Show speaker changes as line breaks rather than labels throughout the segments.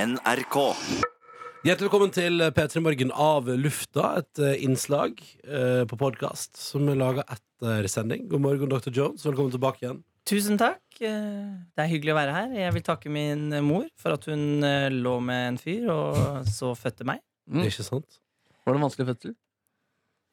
NRK.
Hjertelig velkommen til P3 Morgen av lufta, et eh, innslag eh, på podkast som er laga etter sending. God morgen, Dr. Jones. Velkommen tilbake igjen.
Tusen takk. Eh, Det er hyggelig å være her. Jeg vil takke min mor for at hun eh, lå med en fyr og så fødte meg.
Mm.
Ikke sant?
Var det en vanskelig fødsel?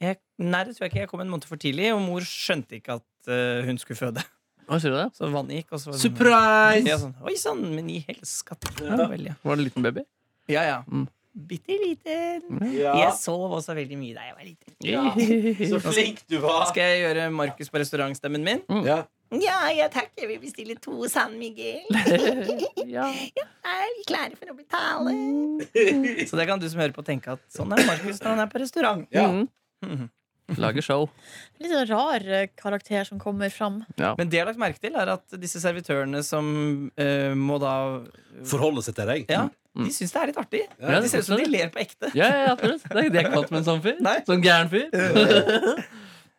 Jeg, nei, det tror jeg ikke. Jeg kom en måned for tidlig, og mor skjønte ikke at eh, hun skulle føde.
Hva sier du det?
Så vannet gikk, og så var det sånn- Ja,
Surprise!
sånn, Oi sann, men i helskatt. Ja, vel, ja.
Var det en liten baby?
ja. ja.
Mm.
Bitte liten. Jeg sov også veldig mye da jeg var liten.
Så flink du var!
Skal jeg gjøre Markus på restaurantstemmen min?
Ja.
Ja, jeg takker. Vi bestiller to San Miguel.
Ja.
Er vi klare for å betale? Så det kan du som hører på, tenke at sånn er Markus når han er på restaurant.
Ja.
Mm. Lager show.
Litt sånn rar eh, karakter som kommer fram.
Men det jeg har lagt merke til, er at disse servitørene som eh, må da
Forholde seg til deg.
Ja,
Mm.
de syns det er litt artig.
Ja,
De
det
ser ut som de
koselig.
ler på ekte.
Ja, ja, absolutt. Det er, det er ikke vant med en sånn fyr.
Nei.
Sånn gæren fyr.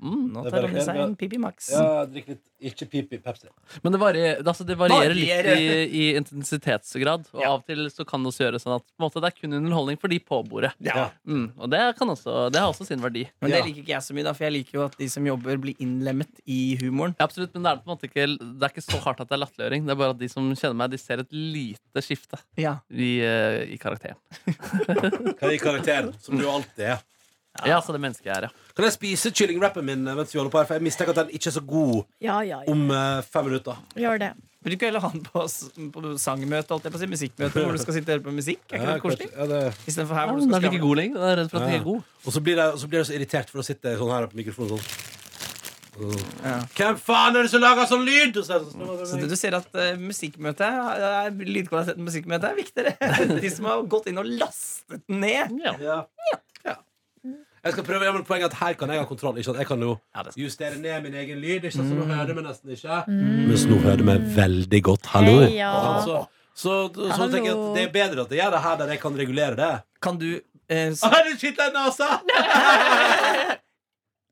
Nå
Det er
tar
bare-
hun seg en Pipi Max.
drikk litt ikke pip i Pepsi.
Men det, varier, det- altså, det varierer litt i,
Varierer.
i intensitetsgrad. Og av og til så kan det også gjøre sånn at på en måte, det er kun underholdning for de på bordet.
Ja.
Mm. Og det, kan også, det har også sin verdi.
Men det
Ja.
liker ikke jeg så mye, da, for jeg liker jo at de som jobber, blir innlemmet i humoren.
Ja, absolutt, men det er, på en måte ikke, det er ikke så hardt at det er latterliggjøring. Det er bare at de som kjenner meg, de ser et lite skifte
Ja.
i, eh, i karakteren.
Hva er karakteren, som du alltid er?
Ja, så det mennesket jeg er, ja.
Kan jeg spise kyllingrappen min eh, mens vi holder på her? For jeg mistenker at den ikke er så god
Ja, ja, ja.
om eh, fem minutter.
Gjør det.
Bruker heller han på, s- på sangmøte, holdt jeg på å si, musikkmøte, hvor du skal sitte og høre på musikk. Er ikke det litt koselig?
Ja, det-
Istedenfor her,
ja
hvor
men
du
den
skal
er ikke
skravle.
god lenger. Den er redd for at den
Ja.
ikke er god.
Og så blir jeg så, blir jeg så irritert for å sitte sånn her på mikrofonen sånn.
Ja.
Hvem faen er det som lager sånn lyd?! Og så er det sånn,
Så du ser at eh, musikkmøtet eh, lydkvaliteten på musikkmøtet er viktigere. De som har gått inn og lastet ned.
Ja.
Ja. Ja. Jeg skal prøve, men Poenget er at her kan jeg ha kontroll. Ikke sant? Jeg kan jo justere ned min egen lyd. Ikke sant? Så
Mm.
nå hører du meg nesten ikke. Mens nå hører du meg veldig godt. Hallo! Sånn,
ja.
Så, så, så,
Hallo.
tenker jeg at det er bedre at jeg gjør det her der jeg kan regulere det.
Kan du eh, s-
Har du skitla nesa?!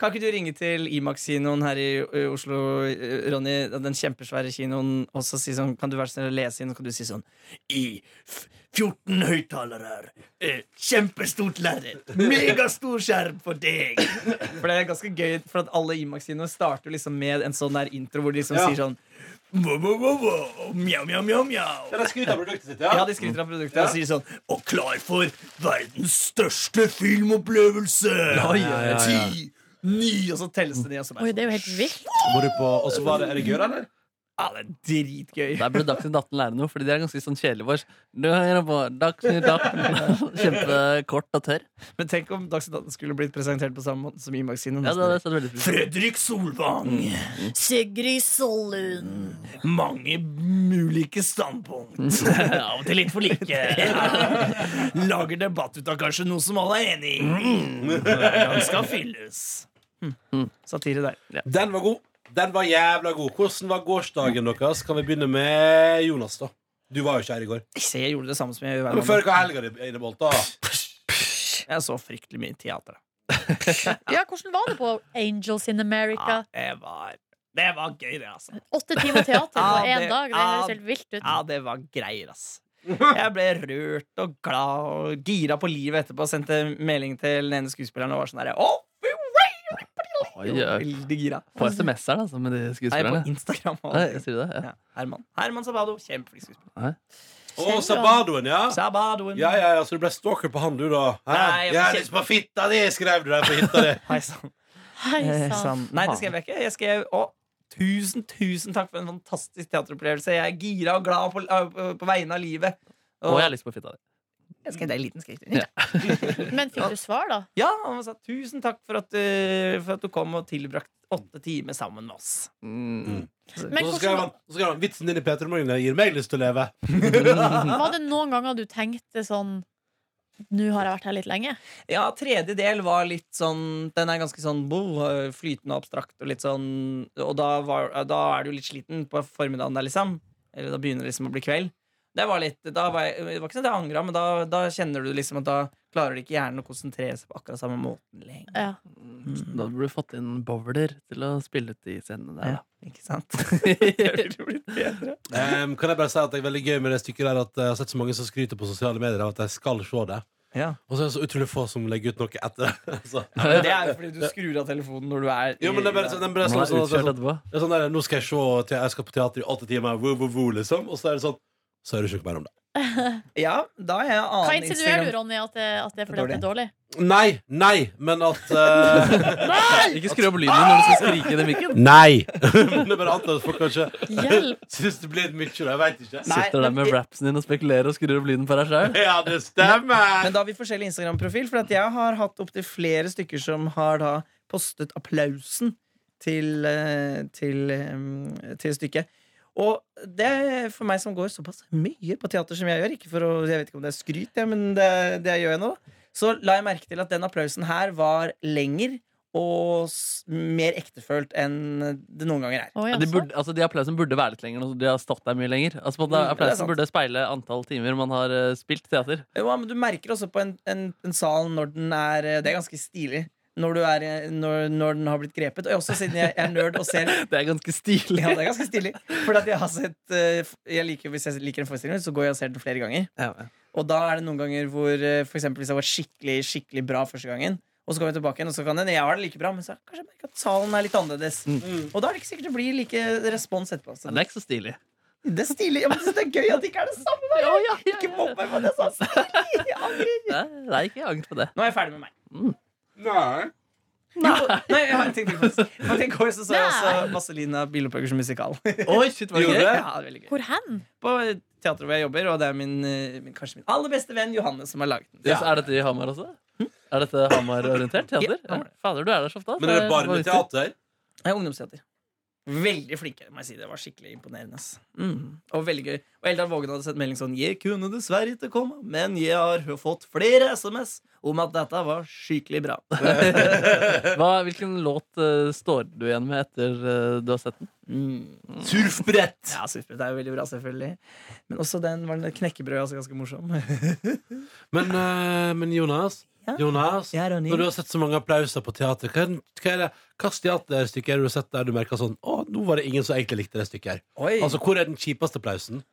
Kan ikke du ringe til Imax-kinoen her i ø, Oslo, ø, Ronny, den kjempesvære kinoen, og så si sånn Kan du være så snill å lese inn, og så kan du si sånn I f- 14 høyttalere. ø, Kjempestort lerret. Megastor skjerm for deg. For det er ganske gøy, for at alle Imax-kinoer starter jo liksom med en sånn der intro hvor de liksom
Ja.
sier sånn «Wow, wow, wow, wow, Mjau, mjau, mjau, mjau.
Jeg skryter av produktet sitt,
Ja,
ja.
de skryter av produktet og sier sånn Og klar for verdens største filmopplevelse!
ja, ja, ja.
Ti, ni, og så telles det ned. Og så
Oi,
bare,
det er jo helt vilt.
Går du på, og så var det, Er det gøy, eller?
ja, det er dritgøy.
Der burde Dagsnytt 18 lære noe, fordi de er ganske sånn kjedelige vårs. Du hører på Dagsnytt 18. Kjempekort og tørr.
Men tenk om Dagsnytt 18 skulle blitt presentert på samme måte som Imagsinoen.
Ja, det hadde jeg sett veldig pris på.
Fredrik Solvang.
Sigrid Sollund.
Mange ulike standpunkt. Av og til litt for like. Lager debatt ut av kanskje noe som alle er enig i. Den skal fylles. Mm. Satire der.
Den var god. Den var jævla god. Hvordan var gårsdagen deres? Kan vi begynne med Jonas, da? Du var jo ikke her i går.
Jeg ser jeg gjorde det samme som jeg gjør hver
Men
mandag.
Før hva helga di inneholdt, da?
Jeg så fryktelig mye teater.
Ja, hvordan var det på Angels in
Ja,
America?
det var Det var gøy, det, altså.
Åtte timer teater
Ja,
på én
det-
dag. Det
ja.
høres helt vilt ut.
Ja, det var greier, ass. Jeg ble rørt og glad og gira på livet etterpå. Sendte melding til den ene skuespilleren og var sånn derre oh,
Oi, ja.
Veldig gira.
På SMS-eren, altså, med de
Nei, på
skuespillerne.
Instagram. og
Nei,
alt.
sier du det? Ja.
Ja, Herman Herman Sabado. Kjempeflink skuespiller.
Å, Sabadoen, ja.
Sabadoen.
Ja, ja, ja, Så du ble stalker på han, du, da? Hæ?
Nei, jeg
jeg har
fikk-
lyst på fitta di, skrev du der på hytta di.
Hei sann.
Hei
Eh,
sann.
sann. Nei, det skrev jeg ikke. Jeg skrev å, tusen, tusen takk for en fantastisk teateropplevelse. Jeg er gira og glad på, på, på vegne av livet.
Og jeg har lyst på fitta di.
jeg skrev det i liten skrift.
Men fikk du svar, da?
Ja, han sa tusen takk for at, eh, for at du kom og tilbrakt åtte timer sammen med oss.
Mm.
Men
Og så skrev
hvordan,
han, så skrev han vitsen din i Peter Morgen gir meg lyst til å leve.
var det noen ganger du tenkte sånn Nå har jeg vært her litt lenge?
Ja, tredje del var litt sånn Den er ganske sånn bo, flytende og abstrakt og litt sånn Og da, var, da er du litt sliten på formiddagen der, liksom. Eller da begynner det liksom å bli kveld. Det var litt da var jeg, Det var ikke sånn at jeg angra, men da, da kjenner du liksom at da klarer de ikke hjernen å konsentrere seg på akkurat samme måten lenger.
Ja.
Da burde du fått inn bowler til å spille ut de scenene der.
Ja,
da.
ikke sant? det blir bedre.
Ehm, kan jeg bare si at det er veldig gøy med det stykket der at eh, jeg har sett så mange som skryter på sosiale medier av at de skal se det.
Ja.
Og så er det så utrolig få som legger ut noe etter det. Så-
Men det er jo fordi du skrur av telefonen når du er i-
Jo, men det er bare, så- det er bare
Man
sånn,
er
sånn,
utkjørt
sånn,
etterpå.
det er sånn der, Nå skal jeg se te- Jeg skal på teater i åtte timer, woo, woo, woo, liksom. Og så er det sånn Så hører du ikke mer om det.
Ja, da er jeg en
Hva
annen
insinuerer du,
Instagram.
Ronny? At det, at det er fordi at det er dårlig?
Nei, nei, men at eh,
Ikke skru opp lyden når du skal skrike inn i mikken.
Nei! men det er bare antar at folk kanskje
Hjelp!
syns det blir mye, da. Jeg veit ikke.
Nei,
Sitter der
men
med
det-
rapsen din og spekulerer og skrur opp lyden på deg sjøl.
Ja, det stemmer!
Men da har vi forskjellig Instagram-profil, for at jeg har hatt opptil flere stykker som har da postet applausen til, eh, til, eh, til stykket. Og det er for meg som går såpass mye på teater som jeg gjør, ikke for å, jeg vet ikke om det er skryt, jeg, men det, det gjør jeg nå, så la jeg merke til at den applausen her var lenger og s mer ektefølt enn det noen ganger er.
Å,
Ja,
jaså.
de, burde, altså, de applausene burde være litt lenger. nå, så De har stått der mye lenger. Altså, på en
Mm,
måte,
det er
applausen
sant.
burde speile antall timer man har eh, spilt teater.
Ja, men du merker også på en, en, en sal når den er eh, Det er ganske stilig. Når, du er, eh, når, når den har blitt grepet. Og også siden jeg er nerd og ser
Det er ganske stilig.
Ja, det er ganske stilig. For at jeg har sett eh, f- jeg liker, Hvis jeg liker en forestilling, så går jeg og ser den flere ganger. Og da er det noen ganger hvor eh, for eksempel hvis jeg var skikkelig skikkelig bra første gangen, og så kommer jeg tilbake igjen, og så kan jeg, jeg var det like bra, men så kanskje jeg merker at salen er litt annerledes. Og da er det ikke sikkert det blir like respons etterpå. Så
Men det er ikke så stilig.
det er stilig. Ja, men det er gøy at det ikke er det samme. hver gang. Ikke mobb meg for det jeg sa. Jeg angrer.
Nei, det er ikke angst på det.
Nå er jeg ferdig med meg.
Nei.
Nei, Nei jeg har en ting til faktisk. Men i går så så jeg også Vazelina Bilopphøggers musikal.
Oi, shit, var det gøy?
Ja, veldig gøy.
Hvor hen?
på teateret hvor jeg jobber, og det er min, eh, min, kanskje min aller beste venn Johannes som har laget den.
Ja, så er dette i Hamar også? Hm? Er dette Hamar-orientert teater?
Ja, Hamar.
Ja, Fader, du er der så ofte. ass.
Men er det bare med
ute.
teater?
Det er ungdomsteater. Veldig flinke, må jeg si. Det var skikkelig imponerende. ass. Mm. Og veldig gøy. Og Eldar Vågen hadde sett melding sånn Jeg kunne dessverre ikke komme, men jeg har fått flere SMS om at dette var skikkelig bra.
Hva, hvilken låt eh, står du igjen med etter eh, du har sett den?
Mm.
Surfbrett!
Ja, supert. Det er jo veldig bra, selvfølgelig. Men også den var den knekkebrødet altså ganske morsom.
Men, eh, men Jonas,
Ja.
Jonas
Jeg er Ronny.
når du har sett så mange applauser på teater, hva er, den- hva er det hvilket teaterstykke er det du har sett der du merker sånn Å, nå var det ingen som egentlig likte det stykket her.
Oi.
Altså, hvor er den kjipeste applausen?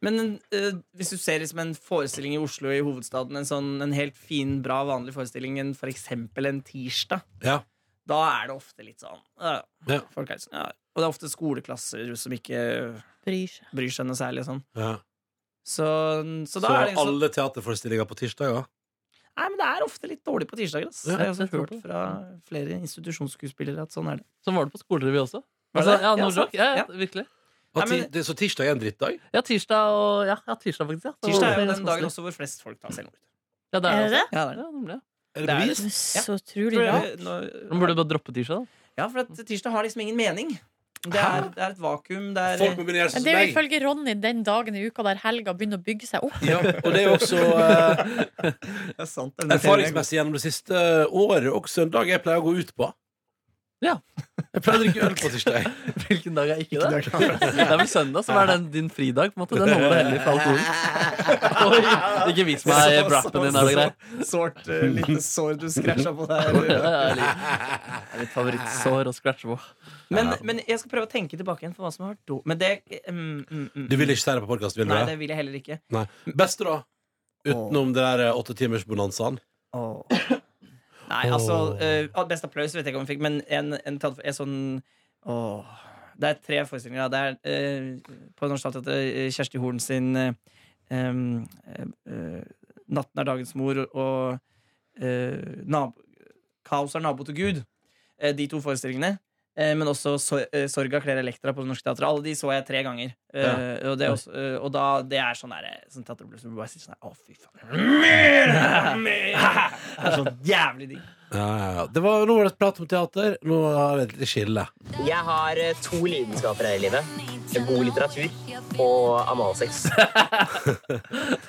Men eh, hvis du ser liksom en forestilling i Oslo i hovedstaden, en sånn en helt fin, bra, vanlig forestilling, en, for eksempel en tirsdag,
Ja.
da er det ofte litt sånn ja,
Ja.
folk er sånn, ja. Og det er ofte skoleklasser som ikke
Bryr seg.
bryr seg noe særlig og sånn.
ja.
Så, så
Så,
da er det liksom,
alle teaterforestillinger på tirsdag, ja?
Nei, men det er ofte litt dårlig på tirsdager, ass.
Ja,
Jeg har også
jeg tror
hørt
det.
fra flere institusjonsskuespillere at sånn er det.
Som var det på skolerevy også.
Var
Altså,
det?
ja,
Ja,
Nordrock.
sant.
Ja, ja,
Ja.
virkelig.
Og
Nei, men-
ti- det- Så tirsdag er en drittdag?
Ja, tirsdag og Ja, ja tirsdag faktisk. Ja. Det var
Tirsdag er jo
ganske
den dagen
vanskelig.
også hvor flest folk tar selvmord.
Ja, det
Er
er
det
det.
det?
Ja, det er det.
Ja, nemlig, ja.
Er det
Det er
bevis?
Så
Tror
utrolig
jeg-
bra.
nå-
Man burde bare droppe tirsdag, da.
Ja, for at tirsdag har liksom ingen mening. Det er, det er et vakuum. Det er,
Folk må begynne å gjøre
Men
sånn
det er jo
som meg.
ifølge Ronny den dagen i uka der helga begynner å bygge seg opp.
Ja, og det er jo også eh,
Det er sant, den er-
erfaringsmessig gjennom det siste året også en dag jeg pleier å gå ut på.
Ja.
Jeg pleier å drikke øl på tirsdag.
Hvilken dag er ikke det? Det er vel søndag som er den, din fridag. på en måte Den holder deg hellig for alkoholen. Oi, ikke vis meg brappen din. Er det greit?
Sårt eh, lite sår du scratcha på
Ja,
der.
ja, litt- det er Litt favorittsår å scratche på.
Men, men jeg skal prøve å tenke tilbake igjen på hva som har vært do. Men det mm, mm, mm.
Du vil ikke si det på podkast, vil du?
Nei,
det?
det vil jeg heller ikke.
Nei. Beste, da? Utenom det der eh, åttetimersbonanzaen.
Nei, altså eh, Best applaus vet jeg ikke om jeg fikk, men en, en, teater- en sånn åh. Det er tre forestillinger. da. Det er eh, på Norsk Teater eh, Kjersti Horn sin eh, em, eh, eh, 'Natten er dagens mor' og eh, nab 'Kaos er nabo til Gud'. Eh, de to forestillingene. Eh, men også so eh, 'Sorga kler Elektra' på Det Norske Teatret. Alle de så jeg tre ganger. Eh, og, det er også, eh, og da det er sånn, der, eh, sånn teaterblus hvor du bare sitter sånn her, Å, fy faen. Det er så jævlig digg.
Ja, ja, ja. Det var, nå var det prat om teater. Nå har vi et lite skille.
Jeg har eh, to lidenskaper her i livet. god litteratur og analsex.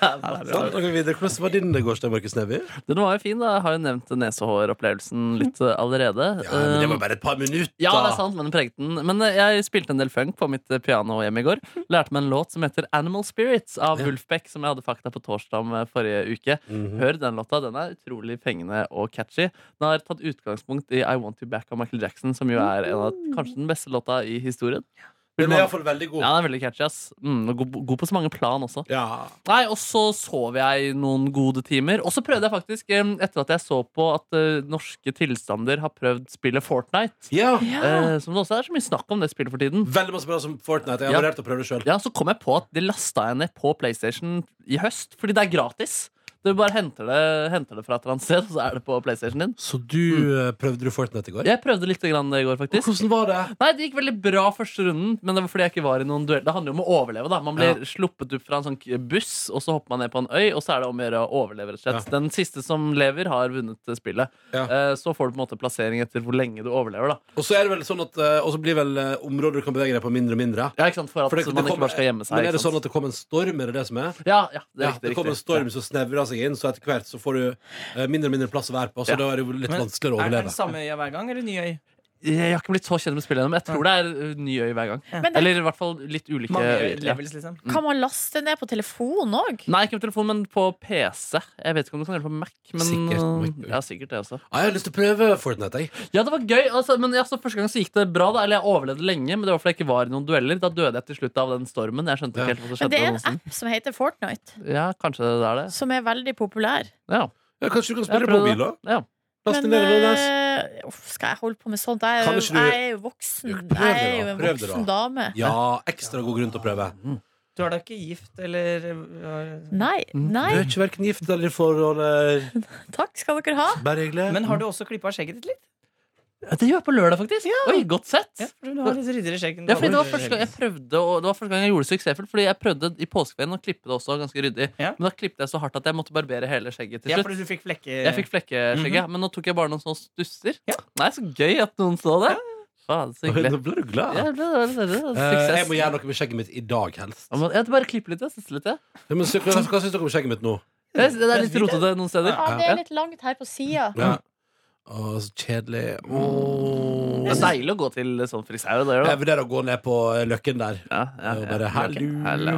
Da går vi videre. Hvordan var din gårsdag, Markus Neby?
Den var jo fin, da. Jeg har jo nevnt nesehåropplevelsen litt eh, allerede.
Ja, men det var bare et par minutter.
Ja, det er sant, men den pregte den. Men eh, jeg spilte en del funk på mitt eh, piano hjemme i går. Lærte meg en låt som heter Animal Spirits av Wolfbeck, som jeg hadde fakta på torsdag om eh, forrige uke. Hør den låta. Den er utrolig fengende og catchy. Den har tatt utgangspunkt i I Want You Back av Michael Jackson, som jo er en av kanskje den beste låta i historien.
Den er iallfall veldig god.
Ja, den er veldig catchy, ass. Mm, og god, god på så mange plan også.
Ja.
Nei, og så sov jeg noen gode timer. Og så prøvde jeg faktisk, eh, etter at jeg så på at eh, norske tilstander har prøvd spillet Fortnite,
ja.
Ja.
eh, som det også er så mye snakk om det spillet for tiden
Veldig masse bra som Fortnite. Jeg har
Ja.
vurdert å prøve det sjøl.
Ja, så kom jeg på at det lasta jeg ned på PlayStation i høst, fordi det er gratis. Du bare henter det, henter det fra et eller annet sted, og så er det på PlayStation din.
Så du
Mm.
eh, prøvde du Fortnite i går?
Jeg prøvde litt grann det i går, faktisk.
Hvordan var det?
Nei, Det gikk veldig bra første runden, men det var fordi jeg ikke var i noen duell. Det handler jo om å overleve. da Man blir sluppet opp fra en sånn k- buss, og så hopper man ned på en øy, og så er det om å gjøre å overleve. rett og slett Den siste som lever, har vunnet eh, spillet.
Ja.
Eh, Så får du på en måte plassering etter hvor lenge du overlever. da
Og så er det vel sånn at eh, Og så blir vel eh, områder du kan bevege deg på, mindre og mindre.
Ja, ikke sant? For at
For det- det
man ikke
kommer-
bare skal gjemme seg.
Men er det
ikke sant?
sånn at det kom en storm? Er det det som er?
ja, ja, det er
Ja,
riktig,
det kommer en
riktig.
storm som snevrer seg inn, så etter hvert så får du eh, mindre og mindre plass å være på. Så
Ja.
da er det jo litt
Men
vanskeligere å
Er det
overleve.
den samme øya hver gang, eller ny øy?
Jeg har ikke blitt så kjent med spillet ennå, men jeg tror det er uh, ny øy hver gang.
Men det
Eller i hvert fall litt ulike
Mange
øyer, ja.
levels, liksom.
kan man laste ned på telefon òg.
Nei, ikke på telefon, men på PC. Jeg vet ikke om du kan gjøre det på Mac. Men,
Sikkert på Mac, ja.
ja, sikkert det også.
Ah, jeg har lyst til å prøve Fortnite, jeg.
Ja, det var gøy. Altså, men altså, Første gang så gikk det bra. Da, eller jeg overlevde lenge, men det var fordi jeg ikke var i noen dueller. Da døde jeg til slutt av den stormen. Jeg skjønte
Ja.
ikke helt hva som
Men
skjedde.
det er
på
en
den siden.
app som heter Fortnite,
Ja, kanskje det er det.
som er veldig populær.
Ja,
Ja, kanskje du kan
jeg
spille på mobil, da?
det. Ja.
Last
Men
ned det, Jonas.
eh, uff, skal jeg holde på med sånt? Jeg er
Kan
jo,
ikke du-
jeg er jo voksen.
Jo, prøv
Jeg er
det da,
jo en
prøv det
voksen
da.
dame.
Ja, ekstra god grunn til å prøve.
Du er da ikke gift, eller øh,
Nei,
Du er
nei.
ikke verken gift eller i forhold, eh, eller
Takk skal dere ha.
bare hyggelig.
Men har du også klippa skjegget ditt litt?
Ja, Det gjør jeg på lørdag, faktisk. Oi, godt sett.
Ja, for du har litt ryddigere skjegg. enn du
Ja,
hadde
fordi det var
før.
første gang jeg prøvde og Det var første gang jeg gjorde det suksessfullt Fordi jeg prøvde i påskeferien å klippe det også ganske ryddig.
Ja.
Men da klippet jeg så hardt at jeg måtte barbere hele skjegget til
Ja,
slutt.
fordi du fikk flekker
Jeg fikk flekkeskjegget, men nå tok jeg bare noen sånne stusser.
Ja.
Nei, så gøy at noen så det. Faen, så
Oi,
hyggelig.
Nå blir du glad.
Ja, det var- det var- det var
Eh, jeg
Suksess.
må gjøre noe med skjegget mitt i dag, helst.
Ja, men Jeg bare klippe litt, jeg. Sysle litt, jeg.
Ja, men, så, hva hva syns dere om skjegget mitt nå?
Jeg- Det er litt rotete noen steder.
Ja, det er litt langt her på sida.
Ja. Å, så kjedelig. Åh.
Det er deilig å gå til sånn frisør. Det,
Jeg
gjør det.
vurderer å gå ned på eh, Løkken der.
ja, ja,
Og
ja.
bare hallo.
Hallo.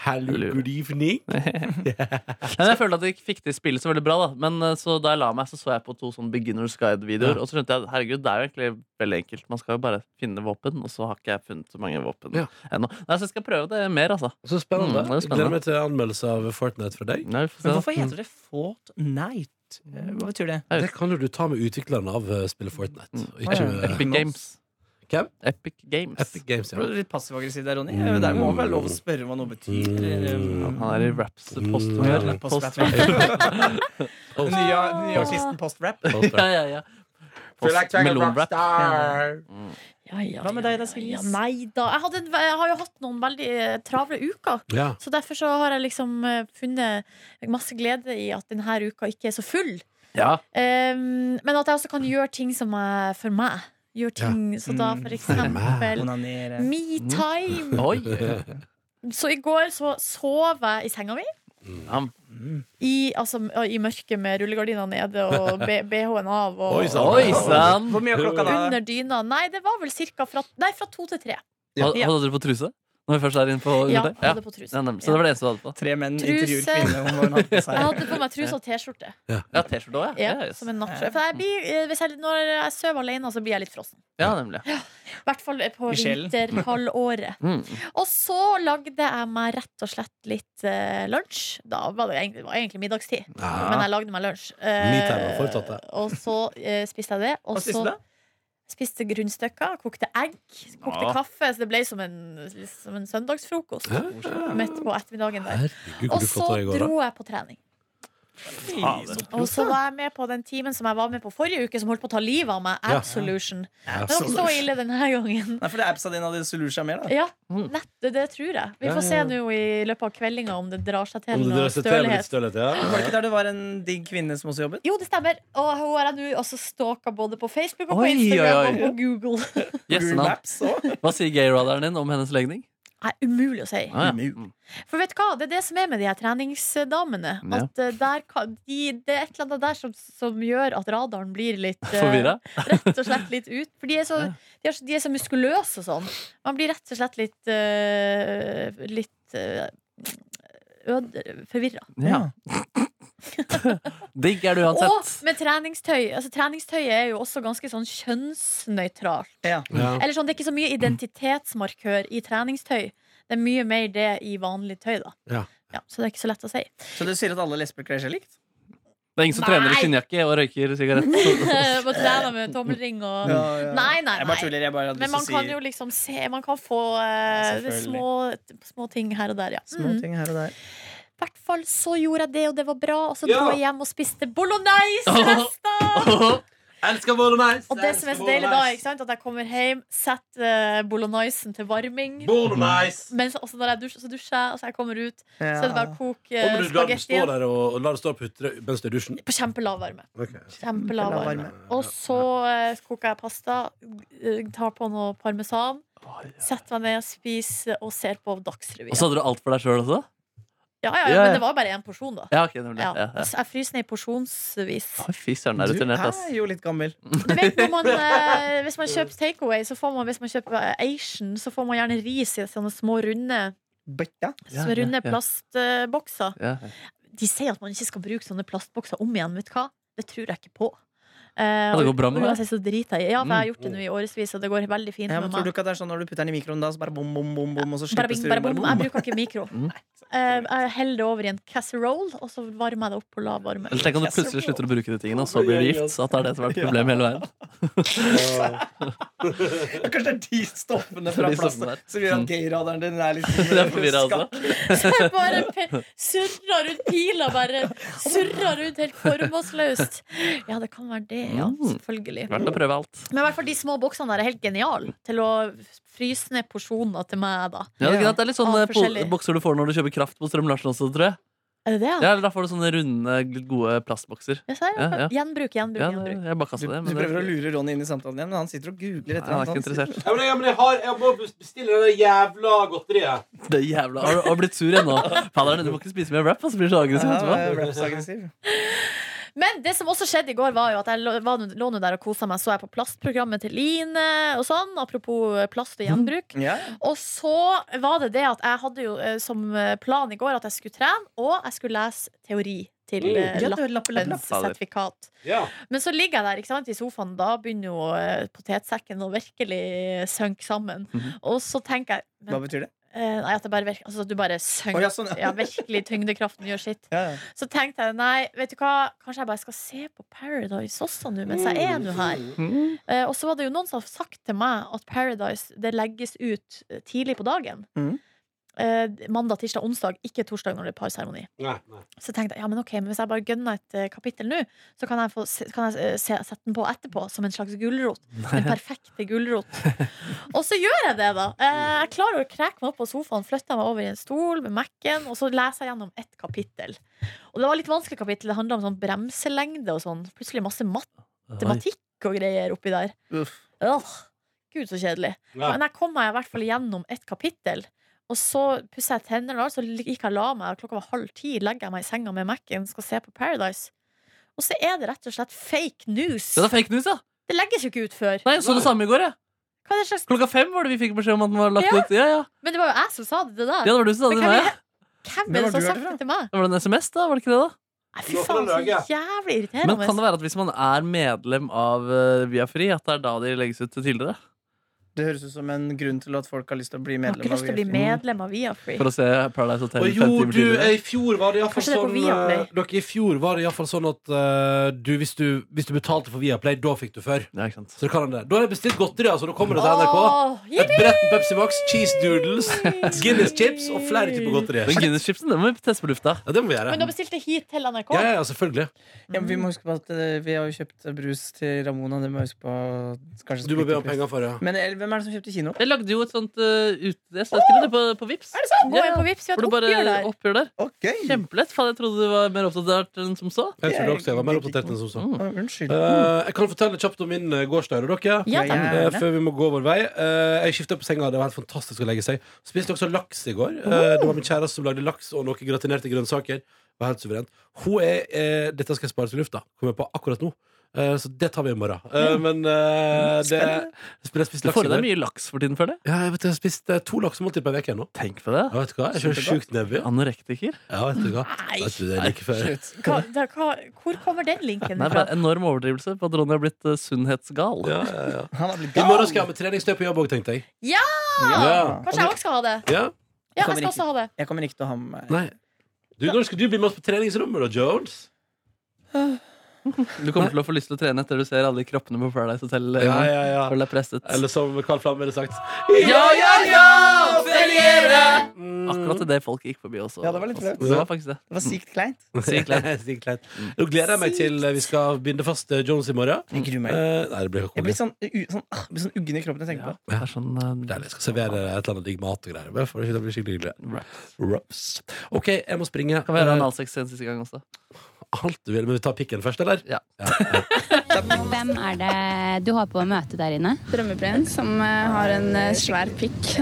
Hello,
Hallo.
good evening.
Men jeg følte at jeg ikke fikk til spillet så veldig bra. Da. Men eh, så da jeg la meg, så så jeg på to sånn beginners guide-videoer.
Ja.
Og så skjønte jeg at herregud, det er jo egentlig veldig enkelt. Man skal jo bare finne våpen, og så har ikke jeg funnet så mange våpen
Ja.
ennå. Nei, så jeg skal prøve det mer, altså.
Så spennende.
Mm, det er
Jeg
spennende.
Gleder meg til anmeldelse av Fortnite fra deg.
Nei, vi får se,
Men
da.
hvorfor heter det Fortnite? Eh, Hva betyr det?
Ja.
Det kan jo du ta med utvikleren av eh, spillet Fortnite.
Mm.
og Ikke med
Epic Games.
Hvem?
Epic Games.
Epic Games.
Ble
Ja.
du litt passiv-aggressiv der, Ronny? Eh, Det må vel lov å spørre hva noe betyr? eh, um, eller,
Mm.
Han er i raps posthumør.
Mm.
Post-
Post-rap.
Post-
Nye, nye artisten Post-rap.
Ja, ja, ja. Post- Melonrap.
Ja, ja,
Hva med deg da,
ja, ja.
Silje?
Nei da. Jeg, hadde en, jeg har jo hatt noen veldig eh, travle uker.
Ja.
Så derfor så har jeg liksom eh, funnet masse glede i at denne uka ikke er så full.
Ja.
Um, men at jeg også kan gjøre ting som er for meg. Gjøre ting, Så da for eksempel
Onanere.
me time.
Oi.
Så i går så sov jeg i senga mi.
Ja.
I, altså, I mørket med rullegardina nede og B- BH-en av. Og,
Oi, sant.
Oi sann!
Hvor mye er klokka da?
under dyna. Nei, det var vel cirka fra, nei, fra to til tre.
Hadde hadde dere på truse? Når vi først er inne på
Ja,
undertøy?
hadde på truse.
Ja, nemlig. Så det var det eneste du hadde på?
Tre menn
Truse.
intervjuer kvinner om hva hun hadde på
Jeg
seg.
hadde på meg truse og T-skjorte.
Ja, T-skjorte òg, ja.
Ja,
Ja, yes.
som en nattskjorte. For jeg blir, eh, hvis jeg, når jeg sover alene, så blir jeg litt frossen.
ja nemlig.
I hvert fall eh, på
Michelle.
vinterhalvåret.
Mm.
Og så lagde jeg meg rett og slett litt eh, lunsj. Da var det egentlig, det var egentlig middagstid, men
Ah.
Ja.
jeg lagde meg lunsj.
Me time har fortsatt det.
og så eh, spiste jeg det. Og
Hva spiste
så
du da?
spiste grunnstykker, kokte egg, kokte
Ja.
kaffe. Så det ble som en, som en søndagsfrokost midt på ettermiddagen der.
Herregud,
Og
hvor du
så
flotta i går, da.
dro jeg på trening. Og så var jeg med på den timen som jeg var med på forrige uke, som holdt på å ta livet av meg.
Ja.
Absolution.
Ja.
Det var ikke så ille denne gangen.
Nei, for det er appsa dine hadde solution mer, da.
Ja,
Mm.
nett, det, det tror jeg. Vi
Ja,
får
ja,
se
ja.
nå i løpet av kveldinga om det drar seg til
Om det
noe
drar seg til med litt
stølhet.
stølhet, ja.
Var det ikke der det var en digg kvinne som også jobbet?
Jo, det stemmer. Og hun har jeg nå også stalka både på Facebook og på
Oi, oi,
Instagram
oi.
og på Google.
Yes,
Google
man.
Maps også.
Hva sier gayradaren din om hennes legning?
Nei, umulig å si.
Ah, ja.
Umulig.
Mm.
For vet du hva, det er det som er med de her treningsdamene.
Ja.
At eh, der kan, de, det er et eller annet der som, som gjør at radaren blir litt eh,
Forvirra?
Rett og slett litt ut. For de er så,
Ja.
de er så, de er så muskuløse og sånn. Man blir rett og slett litt eh, Litt uh, forvirra.
Ja. Digg er du
Og
uansett.
med treningstøy. Altså, treningstøyet er jo også ganske sånn kjønnsnøytralt.
Ja.
Ja.
Eller sånn, Det er ikke så mye identitetsmarkør i treningstøy. Det er mye mer det i vanlig tøy, da.
Ja.
så det er ikke så lett å si.
Så du sier at alle lesber kler seg likt?
Det er ingen som
Nei!
trener i skinnjakke og røyker sigarett.
På trærne med tommelring og Nei, nei,
Jeg bare
nei.
tuller. Jeg bare hadde
Men
lyst
man
til å
kan
si
jo liksom se Man kan få eh,
Ja, selvfølgelig.
små, små ting her og der, ja.
små
Mm.
ting her og der.
I hvert fall så gjorde jeg det, og det var bra. Og så
Ja.
dro jeg hjem og spiste bolognese! rester!
Elsker bolognese!
Og det som er så deilig da, ikke sant? at jeg kommer hjem, setter eh, bolognesen til varming.
Bolognese!
Men så, også når jeg dusjer, så dusjer jeg, og så jeg kommer ut, så er det bare å koke
Om du lar
eh,
den stå
spagettien.
der og, og lar den stå og putre mens du er i dusjen.
På kjempelav varme.
Ok.
Kjempelav
Kjempelav
varme. Og så eh, koker jeg pasta, eh, tar på noe parmesan, setter meg ned og spiser og ser på
Og
Dagsrevyen.
så hadde du alt for deg sjøl også?
Ja, ja,
Ja, ja.
men det var bare én porsjon, da.
Ja, ok, nemlig.
Ja.
Ja, ja.
Så jeg fryser ned porsjonsvis.
Å, Fy søren, det er
Du
returnert, ass.
er jo litt gammel.
Du vet når man, eh, Hvis man kjøper takeaway, så får man hvis man kjøper eh, Asian, så får man gjerne ris i sånne små, runde,
Bøtta.
Ja,
små, runde
ja, ja.
plastbokser.
Ja.
De sier at man ikke skal bruke sånne plastbokser om igjen. Vet du hva? Det tror jeg ikke på. Eh,
det Mm. går
og
bra med deg.
uansett så driter jeg i Ja, for jeg har gjort det nå i årevis, og det går veldig fint
Ja, men
med
tror du
meg.
ikke at det er sånn når du putter den i mikroen, da, så bare bom, bom, bom, bom, og så
Bare
slippes
bing,
du
bare bom. Jeg bruker ikke mikro.
Mm.
Eh, jeg heller det over i en casserole, og så varmer jeg det opp på lav varme.
Eller tenk om du plutselig slutter å bruke de tingene, og så blir du gift. Så at det er det som er problemet i hele verden.
Ja, Kanskje det er de stoffene
Det er
fra
de
plasten
stoffene der. Mm.
som gjør at gayradaren din er liksom
Det er forvirra, altså.
Jeg bare pe- surrer rundt pila, bare surrer rundt helt formålsløst. Ja, det kan være det, ja.
Mm.
Selvfølgelig.
Verdt å prøve alt.
Men i hvert fall de små boksene der er helt geniale til å fryse ned porsjoner til meg, da.
Ja, det, er greit. det er litt sånne
Ah, forskjellig.
po- bokser du får når du kjøper kraft på Strøm Larsen også, tror jeg.
Er det det, ja?
Ja, eller Da får du sånne runde, gode plastbokser.
Jeg ser,
Ja, ja.
Gjenbruk, gjenbruk,
Ja, det,
gjenbruk.
jeg
Du,
bare kastet Altså, det.
du
Men
prøver å
det,
lure Ronny inn i samtalen igjen, men han sitter og googler
Nei,
etter
han er
annet.
ikke
Han sitter-
interessert.
Ja, men jeg, men jeg, har, jeg må bestille det der jævla godteriet.
Det er jævla Har du har du blitt sur igjen nå? Fader, du må ikke spise mer wrap, og så blir du så aggressiv
Ja,
etterpå.
men raps er aggressiv.
Men det som også skjedde i går, var jo at jeg lå- var nå- lå nå der og kosa meg. Så jeg på plastprogrammet til Line og sånn, apropos plast og
Mm.
gjenbruk.
Ja.
Og så var det det at jeg hadde jo eh, som plan i går at jeg skulle trene, og jeg skulle lese teori
Mm.
til eh,
Ja, det er lapp, lapp, lapp.
lappens sertifikat.
Ja.
Men så ligger jeg der ikke sant, i sofaen, da begynner jo eh, potetsekken å virkelig synke sammen.
Mhm.
Og så tenker jeg men,
Hva betyr det?
eh, Nei, at det bare virker Altså at du bare synker.
Å, ja, sånn, ja.
ja. virkelig. Tyngdekraften gjør sitt.
Ja, ja.
Så tenkte jeg nei, vet du hva, kanskje jeg bare skal se på Paradise også nå, mens jeg er nå her.
Mm.
Eh, og så var det jo noen som har sagt til meg at Paradise det legges ut eh, tidlig på dagen.
Mhm.
Eh, mandag, tirsdag, onsdag, ikke torsdag når det er parseremoni.
Nei, nei.
Så tenkte jeg, ja, men ok, men hvis jeg bare gønner et eh, kapittel nå, så kan jeg, få, se- kan jeg eh, se, sette den på etterpå, som en slags gulrot. Den perfekte gulrot. og så gjør jeg det, da. Eh, jeg klarer å kreke meg opp på sofaen, flytter meg over i en stol med Mac-en, og så leser jeg gjennom ett kapittel. Og det var litt vanskelig kapittel, det handla om sånn bremselengde og sånn. Plutselig masse matematikk og greier oppi der.
Uff.
Åh, Gud, så kjedelig.
Ja.
Men jeg kom meg i hvert fall gjennom et kapittel. Og så pussa jeg tennene, og så gikk jeg og la meg. Klokka var halv ti. Legger jeg meg i senga med Mac-en, skal se på Paradise. Og så er det rett og slett fake news.
Det er fake news, ja!
Det legges jo ikke ut før.
Nei, jeg så det samme i går, jeg.
Hva er det slags
Klokka fem var det vi fikk beskjed om at den var lagt
Ja.
ut. Ja, ja.
Men det var jo jeg som sa det, det
ja,
der.
det var du som sa det
Men
til
kan
meg.
Hvem
Men
er
var
det som
du her
har sagt det til meg?
Det var en SMS, da? var det ikke det da?
Nei,
Det
fy
var for
faen,
en løge.
så jævlig irriterende.
Men kan det være at hvis man er medlem av eh, Viafri, at det er da de legges ut tidligere?
Det høres ut som en grunn til at folk har lyst til å bli
jeg har
medlem.
ikke lyst til å bli
VFU.
medlem av Viafree.
For å se Paradise Hotel
Og
50
jo,
timer
du, eh,
tidligere?
i fjor var det iallfall
Kanskje det er på
sånn
Viaplay.
eh, Dere, i fjor var det i hvert fall sånn at eh, du, hvis du, hvis du betalte for Viaplay, da fikk du før.
Ja, ikke sant.
Så du kan det. Da har jeg bestilt godteri, altså. Da kommer det til NRK.
Åh,
Et
jippi!
brett med Pepsi Max, cheese doodles, Guinness chips og flere typer godteri.
Den Guinness-chipsen den må vi teste på lufta.
Ja, det må vi gjøre.
Men da bestilte jeg hit til NRK.
Ja, ja, selvfølgelig.
Ja, men vi må huske på at eh, vi har jo kjøpt brus til Ramona. Det må vi huske på. Kanskje
Du må be om
splitte pris.
penger for det.
Men, eller, men Hvem er det som kjøpte kino?
Jeg lagde jo et sånt uh, ut... Jeg skrev det på, på Vips
Er det sant? Gå
Ja,
inn på
ja.
Vipps, vi har
Hvor
et
det bare
oppgjør der.
oppgjør der.
Ok
Kjempelett. Faen, jeg trodde du var mer oppdatert enn som så.
Jeg trodde også jeg var mer oppdatert enn som så.
Å, Unnskyld.
Eh, jeg kan fortelle kjapt om min eh, gårsdag. er det Dere.
Ja,
Ja,
takk.
ja.
Eh, før vi må gå vår vei. Eh, jeg skifta på senga. Det var helt fantastisk å legge seg. Spiste også laks i går. Eh, det var min kjæreste som lagde laks og noen gratinerte grønnsaker. Det var helt suverent. Hun er, eh, dette skal jeg spare til lufta, kommer jeg på akkurat nå. Eh, så det tar vi i morgen. Eh, men eh, det Jeg spiste
Du
laks
får
i
i deg
går.
mye laks for tiden, føler jeg.
Ja, jeg, vet, jeg har spist eh, to laksemåltider på en uke ennå.
Tenk på det.
Ja, vet du hva? Jeg kjører sjukt nedby.
Anorektiker.
Ja, vet du hva? Vet du, det er like før.
Hva, da, hva, hvor kommer den linken
Nei,
fra?
for det er enorm overdrivelse på at Ronny har blitt eh, sunnhetsgal.
Ja, ja, ja.
Han har blitt
I morgen
gal.
skal jeg ha med treningstøy på jobb òg, tenkte jeg.
Ja.
Kanskje jeg også skal ha det?
Ja.
Ja,
Kommer
jeg skal
ikke.
også ha det.
Jeg kommer ikke til å eh. ha med meg
Nei. Du, når skal du bli med oss på treningsrommet, da, Jones?
Du kommer til å få lyst til å trene etter du ser alle de kroppene på Paradise Hotel. eh,
Ja, ja, ja.
Føler deg presset.
Eller som Carl Flamme ville sagt
Ja, ja, ja! Akkurat det folk gikk forbi også. Altså,
Ja, det var litt flaut.
Det var faktisk det.
Det var sykt kleint.
Sykt kleint.
Sykt kleint. Nå gleder jeg meg til vi skal binde fast eh, Jones i morgen.
Jeg gruer meg.
Eh, nei, det blir
Jeg
kongelig.
blir sånn, u, sånn, ah, blir sånn uggen i kroppen jeg tenker
Ja,
på.
det er sånn eh,
Deilig. Jeg skal servere et eller annet digg mat og greier. Men for Det blir skikkelig hyggelig.
Wraps.
Wraps. OK, jeg må springe.
Kan vi gjøre
Eh,
analsex en siste gang også?
Alt du vil, men vi tar pikken først, eller?
Ja.
Hvem er det du har på å møte der inne?
Drømmeprins som eh, har en eh, svær pikk.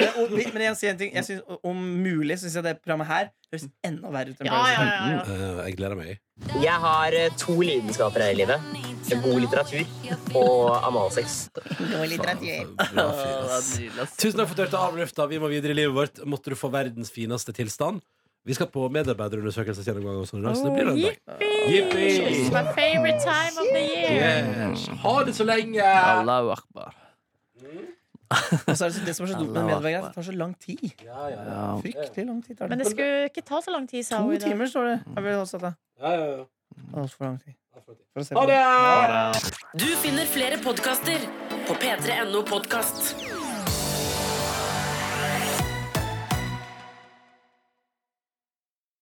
Men, og, vi- men jeg, sier en ting. jeg synes, Om mulig syns jeg det programmet her høres enda verre ut enn
Ja, ja, ja, ja.
Eh, jeg gleder meg.
Jeg har eh, to lidenskaper her i livet. God litteratur og amalsex.
Paradise.
Bra fyr, ass.
Tusen
Tusen takk for at du hørte av lufta. Vi må videre i livet vårt. Måtte du få verdens fineste tilstand. Vi skal på medarbeiderundersøkelsesgjennomgang. og sånn i dag, Så det blir en dag.
It's
Yippee!
my favorite time of the year.
Yes. Ha det så lenge!
Allahu akbar.
Og så er det, så, det som er så dumt med medieverket, det tar så lang tid.
Ja, ja, ja.
Ja.
Fryktelig lang tid tar det.
Men det skulle ikke ta så lang tid, sa
to
hun i dag.
timer står det. Har vi også det.
Ja, ja, ja.
Altfor lang tid. For å se
Ha
på det.
det!
Du finner flere podkaster på p3.no podkast.